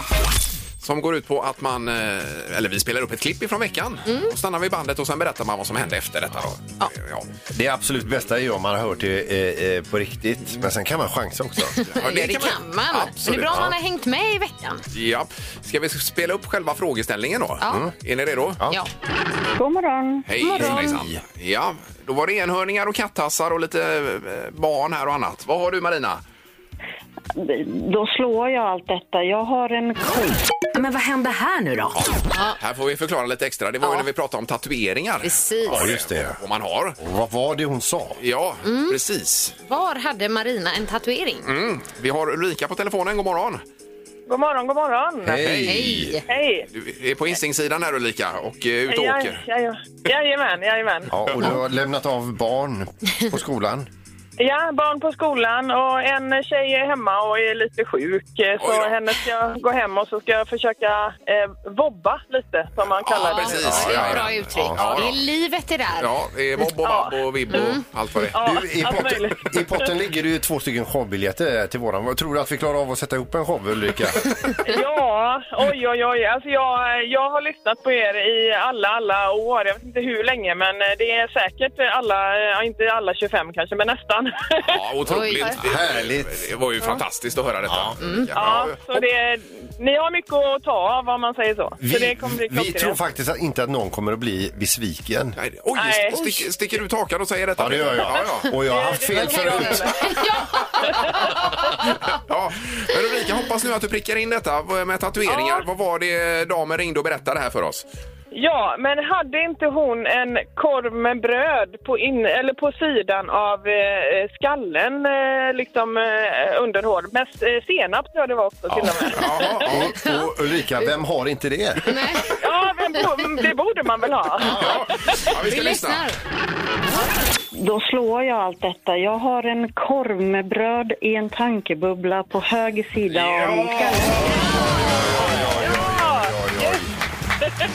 Som går ut på att man, eh, eller vi spelar upp ett klipp ifrån veckan.
Mm.
Och stannar vid bandet och sen berättar man vad som hände efter detta. Då. Ja. Ja.
Det absolut bästa är ju om man har hört det eh, eh, på riktigt. Men sen kan man chansa också.
Ja,
Ja, det kan man. Men det är bra om man har hängt med i veckan.
Ja. Ska vi spela upp själva frågeställningen då?
Ja.
Mm. Är ni redo?
Ja.
God morgon.
Hej, hejsan. Ja, då var det enhörningar och kattassar och lite eh, barn här och annat. Vad har du Marina?
Då slår jag allt detta. Jag har en ko.
Men vad händer här nu då?
Här får vi förklara lite extra. Det var ju
Ja.
när vi pratade om tatueringar.
Precis.
Ja, just det.
Om man har.
Och vad var det hon sa?
Ja,
Mm.
precis.
Var hade Marina en tatuering?
Mm. Vi har Ulrika på telefonen. God morgon.
God morgon, god morgon.
Hej!
Hej.
Du är på instingssidan här Ulrika och eh, ute och
Ja,
åker.
ja, jajamän, jajamän.
Ja, och du har lämnat av barn på skolan.
Ja, barn på skolan och en tjej är hemma och är lite sjuk. eh,
Oj då.
Så henne ska jag gå hem och så ska jag försöka eh, vobba lite, som man kallar det.
precis.
nu.
det
Ja,
är
ja,
ett bra
ja.
uttryck.
Ja, ja.
Det är livet det där.
Ja, det är Bob och Babb och Vibb och allt vad det är.
Mm. Ja,
Du, i,
allt
potten,
möjligt.
I potten ligger det ju två stycken showbiljetter till våran. Vad Tror du att vi klarar av att sätta ihop en show Ulrika?
Ja, oj, oj, oj. Alltså jag, jag har lyssnat på er i alla, alla år. Jag vet inte hur länge, men eh, det är säkert alla, eh, ja, inte alla 25 kanske, men nästan. innan.
Ja, otroligt.
Oj. Mm.
Det, Härligt. Det var ju fantastiskt att höra detta. Ulrika.
Ja, så det, ni har mycket att ta av om man säger så. så det
Vi,
kommer bli
vi
klockrent.
tror faktiskt att inte att någon kommer att bli besviken.
Oj, stick, sticker ut hakan och säger detta?
Ja, det gör jag.
Ja, ja.
Och jag har haft fel förut.
Ja, men Ulrika, hoppas nu att du prickar in detta med tatueringar. Vad var det damen ringde och berättade här för oss?
Ja, men hade inte hon en korv med bröd på, in, eller på sidan av eh, skallen, eh, liksom eh, under håret? Med eh, senap tror jag det var också till och med.
Och, och Ulrika, vem har inte det?
Ja, men bo- det borde man väl ha?
vi ska Vi lyssna.
Då slår jag allt detta. Jag har en korv med bröd i en tankebubbla på höger sida av min skalle.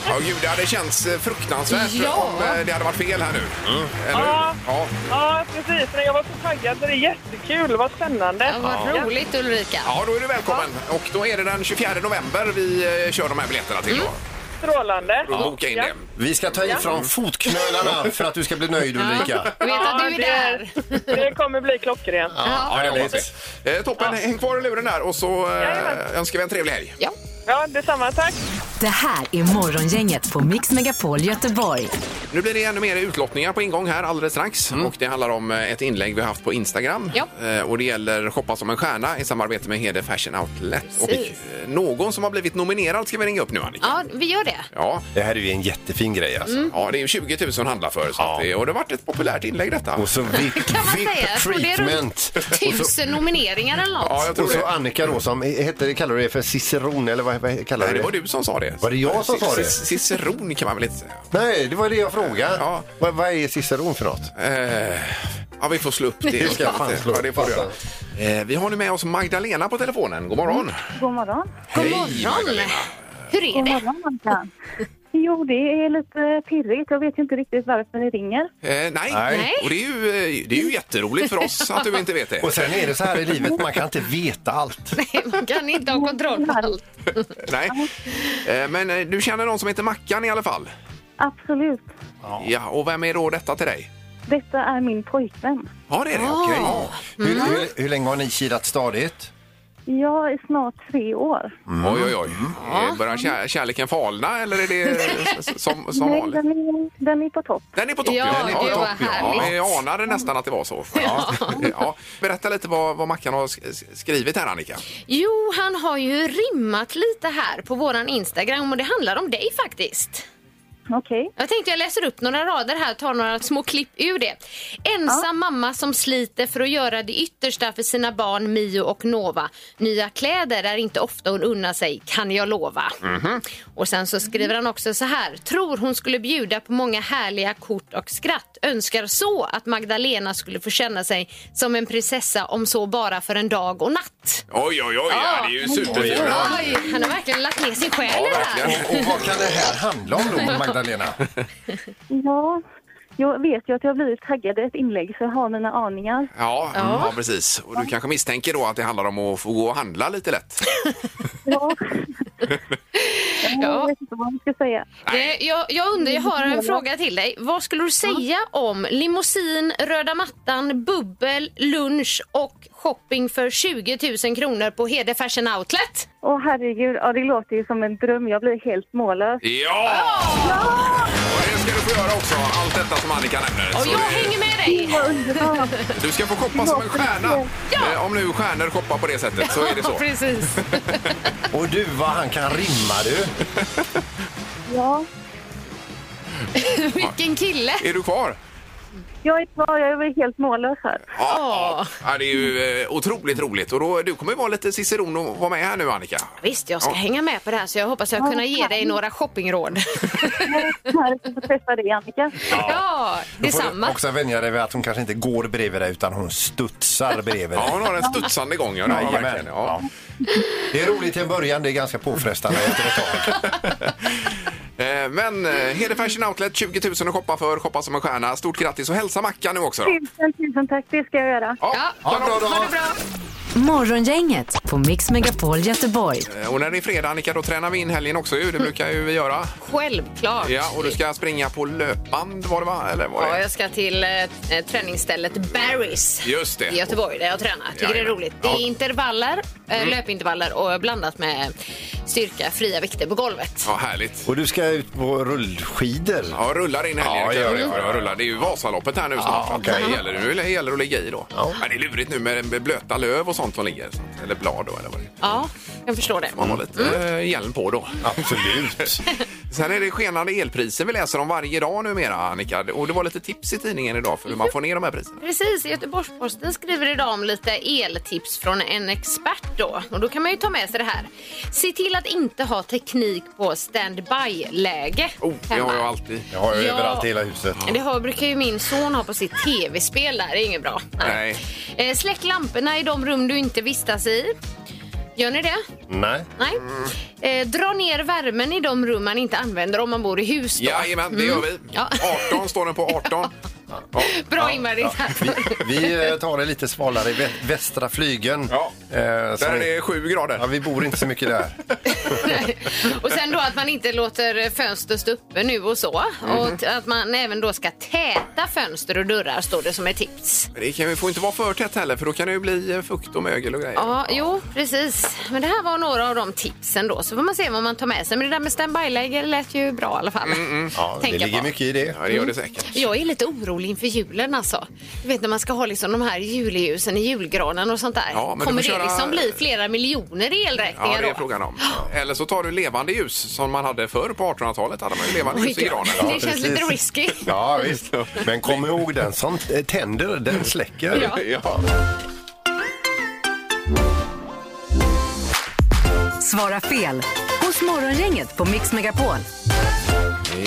Ja, gud, det hade känts eh, fruktansvärt
Ja.
om eh, det hade varit fel här nu.
Mm.
Eller hur?
Ja.
ja.
Ja, precis. Men jag var så taggad så det är jättekul. Vad spännande. Ja,
vad
roligt Ulrika.
Ja, då är du välkommen. Och då är det den 24 november vi eh, kör de här biljetterna till. då.
Strålande.
Då boka in det.
Vi ska ta ifrån fotknölarna för att du ska bli nöjd Ulrika.
Vet att du är där. Det kommer bli klockrent.
Ja, det hoppas vi. Eh, toppen, häng kvar i luren där och så eh, önskar vi en trevlig helg.
Ja.
Ja, detsamma. Tack.
Det här är Morgongänget på Mix Megapol Göteborg.
Nu blir det ännu mer utlottningar på ingång här alldeles strax. Och det handlar om eh, ett inlägg vi har haft på Instagram.
Ja.
Eh, Och det gäller Shoppa som en stjärna i samarbete med Hede Fashion Outlet. Och
Precis.
eh, någon som har blivit nominerad ska vi ringa upp nu Annika.
Ja, vi gör det.
Ja.
Det här är ju en jättefin grej alltså.
Mm.
Ja, det är ju 20 000 att handla för. Så att det, och det har varit ett populärt inlägg detta.
Och så VIP,
Kan man säga? Jag tror det är
treatment.
runt tusen nomineringar eller något.
och så Annika då som heter, kallar du det för ciceron eller vad, vad kallar du
Nej, det var du som sa det.
Var det jag som sa det?
Cic- Ciceron kan man väl inte säga?
Nej, det var det jag frågade.
Ja.
Vad, vad är ciceron för något?
Eh, ja, vi får slå upp det.
Vi ska fan slå
ja, det får du göra. Eh, vi har nu med oss Magdalena på telefonen. God morgon!
Mm. God morgon.
God Magdalena.
Hur är
God morgon, Anka. Jo, det är lite pirrigt. Jag vet ju inte riktigt varför ni ringer.
Eh, nej.
Nej.
och det är, ju, eh, det är ju jätteroligt för oss att du inte vet det.
Och sen är det så här i livet, man kan inte veta allt.
Nej, man kan inte ha kontroll på allt.
Nej. Eh, men eh, du känner någon som heter Mackan i alla fall?
Absolut.
Ja. och vem är då detta till dig?
Detta är min pojkvän.
Ja, det är det. Okej. Ja.
Hur,
Mm.
hur, hur länge har ni kilat stadigt?
Jag är snart tre år.
Oj, oj, oj. Eh, Börjar kär, kärleken falna eller är det s- s- som, som
Nej,
vanligt?
den är, den är på topp.
Den är på topp
Ja,
ju. Den är på
det var
ju.
härligt.
jag anade nästan att det var så. Ja. Ja. Berätta lite vad, vad Mackan har sk- skrivit här Annika.
Jo, han har ju rimmat lite här på våran Instagram och det handlar om dig faktiskt.
Okej.
Jag tänkte jag läser upp några rader här och tar några små klipp ur det. Ensam mamma som sliter för att göra det yttersta för sina barn Mio och Nova. Nya kläder är inte ofta hon unnar sig, kan jag lova.
Mhm.
Och sen så skriver han också så här. Tror hon skulle bjuda på många härliga kort och skratt. Önskar så att Magdalena skulle få känna sig som en prinsessa om så bara för en dag och natt.
Oj, oj, oj. Ja, det är ju superfint.
Oj, han har verkligen lagt ner sin själ i det här.
Och, och vad kan det här handla om då, Magdalena?
Ja, jag vet ju att jag har blivit taggad i ett inlägg så jag har mina aningar.
Ja, ja, precis. Och du kanske misstänker då att det handlar om att få gå och handla lite lätt.
Ja. Jag vet inte vad man ska säga.
Nej, Eh, Jag, jag undrar, jag har en fråga till dig. Vad skulle du säga om limousin, röda mattan, bubbel, lunch och shopping för 20 000 kronor på Hede Fashion Outlet?
Åh herregud, ja, det låter ju som en dröm. Jag blir helt mållös.
Ja! Och det ska du få göra också, allt detta som Annika nämner.
Och
Så
jag
det-
hänger med dig!
Vad underbart!
Du ska få shoppa som en stjärna. Eh, Om nu stjärnor shoppar på det sättet så är det så.
precis.
Och du, vad han kan rimma du.
Ja,
Vilken kille!
Är du kvar?
jag är kvar. Jag är helt mållös här.
Ja, ja. ja, det är ju eh, otroligt roligt. Och då, du kommer ju vara lite ciceron och vara med här nu, Annika.
Visst, jag ska hänga med på det här så jag hoppas jag kunna ge dig några shoppingråd.
Jag är härligt att få träffa dig, Annika.
Ja,
Då får du
detsamma.
också vänja dig vid att hon kanske inte går bredvid dig utan hon studsar bredvid
Ja,
dig.
hon har en studsande gång. Ja, det har hon
Jajamän.
verkligen. ja.
Det är roligt i en början, det är ganska påfrestande efter ett tag.
Eh, Men eh, Hede Fashion Outlet, 20 000 att shoppa för. Shoppa som en stjärna. Stort grattis och hälsa Mackan nu också. Då.
Tusen, tusen tack. Det ska jag göra.
Ja,
Ja,
ha en bra dag.
Ha det bra.
Morgongänget på Mix Megapol Göteborg.
Eh, Och när det är fredag, Annika, då tränar vi in helgen också ju. Det brukar ju vi göra.
Självklart.
Ja, och du ska springa på löpband var det va? Eller var
Ja,
det?
jag ska till eh, eh, träningsstället Barry's
Just det.
i Göteborg där jag tränar. Tycker det är
Jajamän.
roligt. Det är
Ja.
intervaller, eh,
Mm.
löpintervaller och blandat med styrka, fria vikter på golvet.
Ja, härligt.
Och du ska ut på rullskidor.
Ja, rullar in helgen.
Ja, gör det. Ah,
Ja, jag rullar. Det är ju Vasaloppet här nu snart. så att
okej.
det gäller, nu gäller det att ligga i då. Men det är lurigt nu med, med blöta löv och sånt som ligger. så att- Eller blad då, eller vad det är.
Ja, jag förstår det.
Man har lite eh, hjälm på då.
Mm. Absolut.
Sen är det skenande elpriser vi läser om varje dag numera, Annika. Och det var lite tips i tidningen idag för hur man får ner de här priserna.
Precis, Göteborgs-Posten skriver idag om lite eltips från en expert då. Och då kan man ju ta med sig det här. Se till att inte ha teknik på standby-läge oh,
Det har jag alltid. Jag har jag
Ja.
överallt i hela huset.
Det har, brukar ju min son ha på sitt tv-spel där, det är inget bra.
Nej.
Eh, släck lamporna i de rum du inte vistas i. Gör ni det?
Nej.
Nej. Eh, dra ner värmen i de rum man inte använder om man bor i hus. Då.
Jajamän, det gör vi. 18 står den på 18.
Mm.
Bra Ingmar, det är tack.
Vi eh, tar det lite svalare i vä- västra flygen. Ja.
Där är det sju grader.
Ja, Eh, vi bor inte så mycket där.
Och sen då att man inte låter fönster stå uppe nu och så. Och
Mm.
t- att man även då ska täta fönster och dörrar står det som ett tips.
Men Det kan, vi får inte vara för tätt heller för då kan det ju bli eh, fukt och mögel och grejer.
Ja, jo, precis. Men det här var några av de tipsen då. Så får man se vad man tar med sig. Men det där med standby-läge lät ju bra i alla fall.
Mm,
Ja, det
Tänka
ligger
på.
mycket i det.
Ja, det gör det säkert.
Jag är lite orolig inför julen alltså. Du vet när man ska ha liksom de här julljusen i julgranen och sånt där.
Ja, men du
Kommer det
får köra-
liksom bli flera miljoner i
Ja,
elräkningar
det är
då?
frågan om. Eller så tar du levande ljus som man hade förr på 1800-talet. hade man ju levande
Oj
ljus i
då.
granen.
Det känns lite risky.
Ja, visst. Men kom ihåg den som eh, tänder, den släcker.
Ja.
Svara fel hos Morgongänget på Mix Megapol.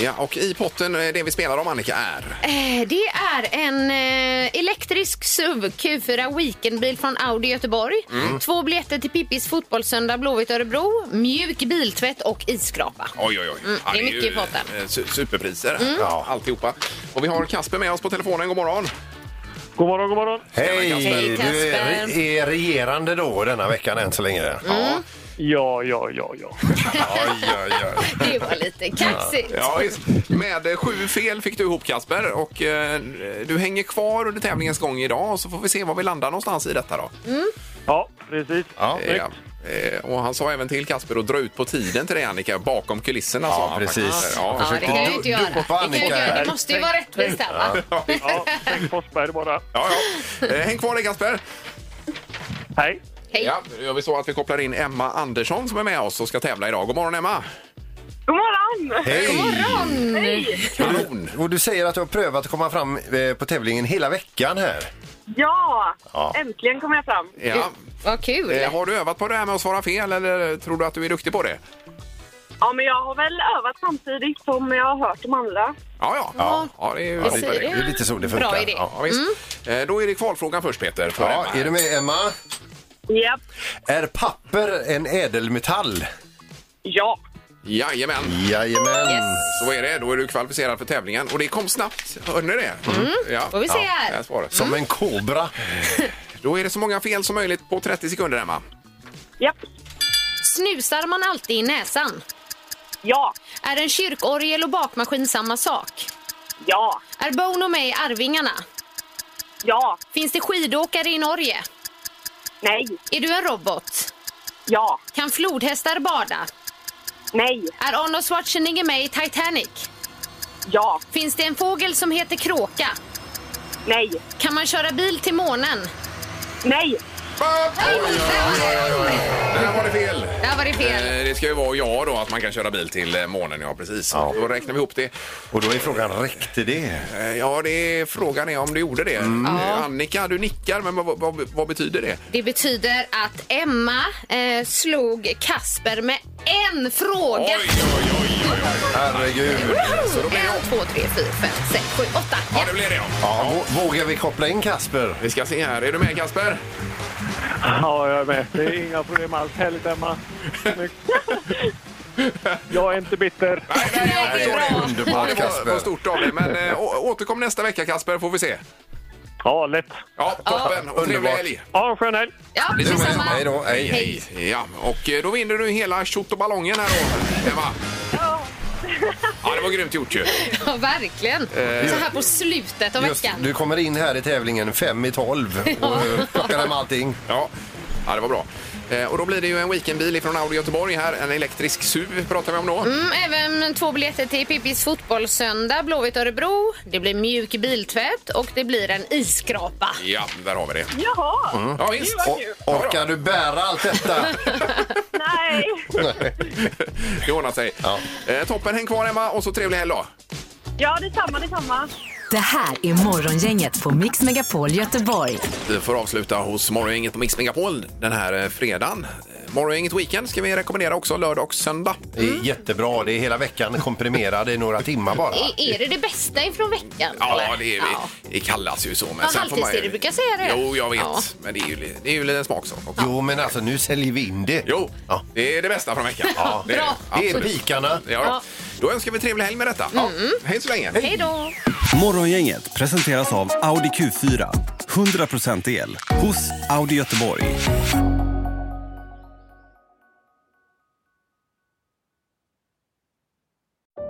Ja, och i potten, eh, det vi spelar om Annika är...
Eh, Det är en eh, elektrisk SUV Q4 weekendbil från Audi Göteborg.
Mm.
Två biljetter till Pippis fotbollssöndag Blåvitt Örebro. Mjuk biltvätt och isskrapa.
Oj, oj, oj.
Mm,
Ja,
det är mycket
ju,
i potten.
eh, su- Superpriser,
Mm.
ja. alltihopa. Och vi har Kasper med oss på telefonen. God morgon!
God morgon, god morgon!
Hej!
Tjena, Kasper. Hej,
Du är,
Kasper.
är regerande då denna veckan än så länge.
ja,
Ja,
ja, ja. ja.
Det var lite kaxigt.
Ja, visst. Med eh, sju fel fick du ihop Kasper och eh, du hänger kvar under tävlingens gång idag och så får vi se var vi landar någonstans i detta då.
Ja, precis.
Ja, Eh, Och han sa även till Kasper att dra ut på tiden till dig Annika, bakom kulisserna sa han
precis.
faktiskt.
Ja,
Ja, det kan jag ju inte göra. Det, kan jag ju inte göra. det måste ju vara rättvist här va?
Ja, tänk Forsberg bara.
Ja, ja. Eh, Häng kvar dig Kasper!
Hej!
Hej.
Ja, nu gör vi så att vi kopplar in Emma Andersson som är med oss och ska tävla idag. God morgon Emma!
God morgon!
Hej! God
morgon! Hej!
Och du säger att du har prövat att komma fram eh, på tävlingen hela veckan här.
Ja,
Ja.
äntligen kom jag fram.
Ja.
Vad kul!
Eh, Har du övat på det här med att svara fel eller tror du att du är duktig på det?
Ja, men jag har väl övat samtidigt som jag har hört de andra.
Ja, ja. ja. det är ju
Vi ser det.
Det är lite så det funkar.
Bra idé.
Ja,
visst. Eh, Då är det kvalfrågan först Peter. för
Ja,
Emma.
är du med Emma?
Japp.
Är papper en ädelmetall?
Ja.
Jajamän.
Jajamän.
Så är det. Då är du kvalificerad för tävlingen. Och det kom snabbt. Hörde ni det?
Mm.
Får vi se här.
det svaret.
Som en kobra.
Då är det så många fel som möjligt på 30 sekunder, Emma.
Snusar man alltid i näsan?
Ja.
Är en kyrkorgel och bakmaskin samma sak?
Ja.
Är Bono med i Arvingarna?
Ja.
Finns det skidåkare i Norge?
Nej.
Är du en robot?
Ja.
Kan flodhästar bada?
Nej.
Är Arnold Schwarzenegger med i Titanic?
Ja.
Finns det en fågel som heter kråka?
Nej.
Kan man köra bil till månen?
Nej.
Där var det fel.
Där var det fel.
Eh, Det ska ju vara ja då, att man kan köra bil till eh, månen. Ja, precis. Då räknar vi ihop det.
Och då är frågan, räckte det? Mm.
Eh, Ja, det är, frågan är om du gjorde det. Eh, Annika, du nickar, men vad, vad, vad betyder det?
Det betyder att Emma eh, slog Kasper med en fråga.
Herregud.
Så då blir det... En, två, tre, fyra, fem, sex, sju, åtta. Ja,
det blir det.
Ja, vå- Vågar vi koppla in Kasper?
Vi ska se här. Är du med Kasper?
Ja, jag är med. Det är inga problem alls. Härligt, Emma. Snyggt. Jag är inte bitter.
Nej, det är bra.
Underbart,
det var,
Kasper.
var stort av dig. Men eh, å- återkom nästa vecka Kasper, får vi se.
Ja, lätt.
Ja, toppen. Och trevlig
Underbart.
helg.
Ja, skön helg.
Ja,
detsamma. Hej då. Hej, hej. Ja, och eh, då vinner du hela tjot och ballongen här då, Eva. Ja, det var grymt gjort ju.
Ja, verkligen.
Eh,
Så här på slutet av
Just,
veckan.
du kommer in här i tävlingen fem i tolv och
Ja.
eh, plockar hem allting.
Ja. ja, det var bra. Eh, Och då blir det ju en weekendbil från Audi Göteborg här. En elektrisk SUV pratar vi om då.
Mm, även två biljetter till Pippis fotbollssöndag, Blåvitt Örebro. Det blir mjuk biltvätt och det blir en isskrapa.
Ja, där har vi det.
Jaha!
Mm. Ja, visst.
Gud, vad kul.
O- orkar du bära allt detta?
Nej!
det ordnar sig. Eh, Toppen, häng kvar Emma och så trevlig helg då.
Ja, detsamma, detsamma.
Det här är Morgongänget på Mix Megapol Göteborg.
Vi får avsluta hos Morgongänget på Mix Megapol den här eh, fredagen. Eh, Morgongänget Weekend ska vi rekommendera också lördag och söndag.
Det är jättebra. Det är hela veckan komprimerad i några timmar bara.
Är, är det det bästa ifrån veckan?
Ja,
eller?
det, är,
Ja.
det kallas ju så. Men
Ja,
sen får man ju-
halvtids-serie brukar säga det.
Jo, jag vet.
Ja.
Men det är ju, li- det är ju lite en smaksak. också.
Jo, men alltså nu säljer vi in det.
Jo, det är det bästa från veckan.
Ja.
det, är
Bra. Det är
Absolut.
pikarna.
Ja, då.
Ja.
då önskar vi trevlig helg med detta. Ja. Hej så länge.
Mm. Hej då!
Morgongänget presenteras av Audi Q4. 100% el hos Audi Göteborg.